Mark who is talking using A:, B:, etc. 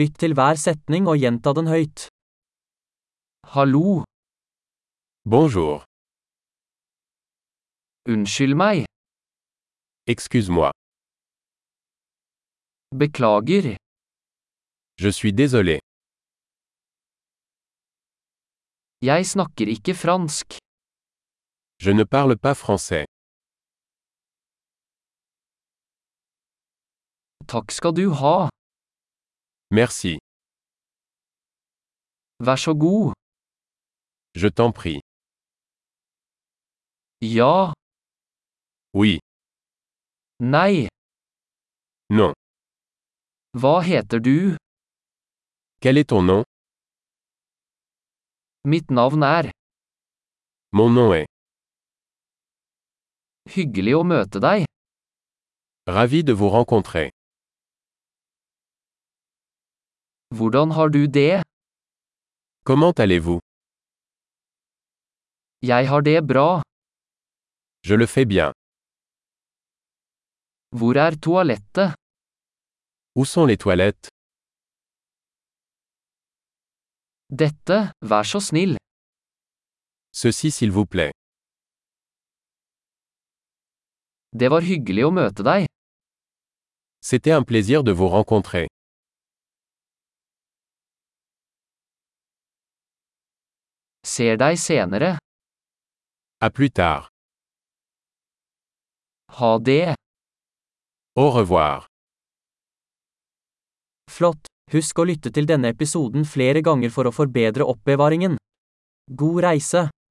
A: Lytt til hver setning og gjenta den høyt. Hallo,
B: Bonjour,
A: unnskyld meg,
B: excuse-moi,
A: beklager,
B: je suis désolé,
A: jeg snakker ikke fransk,
B: je ne parle pas français.
A: takk skal du ha,
B: Merci,
A: vær så god,
B: je t'en prie.
A: ja,
B: Oui,
A: nei,
B: non.
A: hva heter du,
B: Quel est ton nom
A: mitt navn er,
B: Mon nom est.
A: hyggelig å møte deg,
B: Ravi de vous rencontrer.
A: hvordan har du det,
B: Comment allez-vous
A: jeg har det bra,
B: Je le fais bien.
A: hvor er toalettet,
B: Où sont les toilettes
A: dette, vær så snill,
B: Ceci s'il vous plaît.
A: det var hyggelig å møte deg,
B: C'était un plaisir de vous rencontrer.
A: ser deg senere,
B: À plus tard.
A: ha det,
B: Au revoir.
A: flott, husk å lytte til denne episoden flere ganger for å forbedre oppbevaringen. God reise!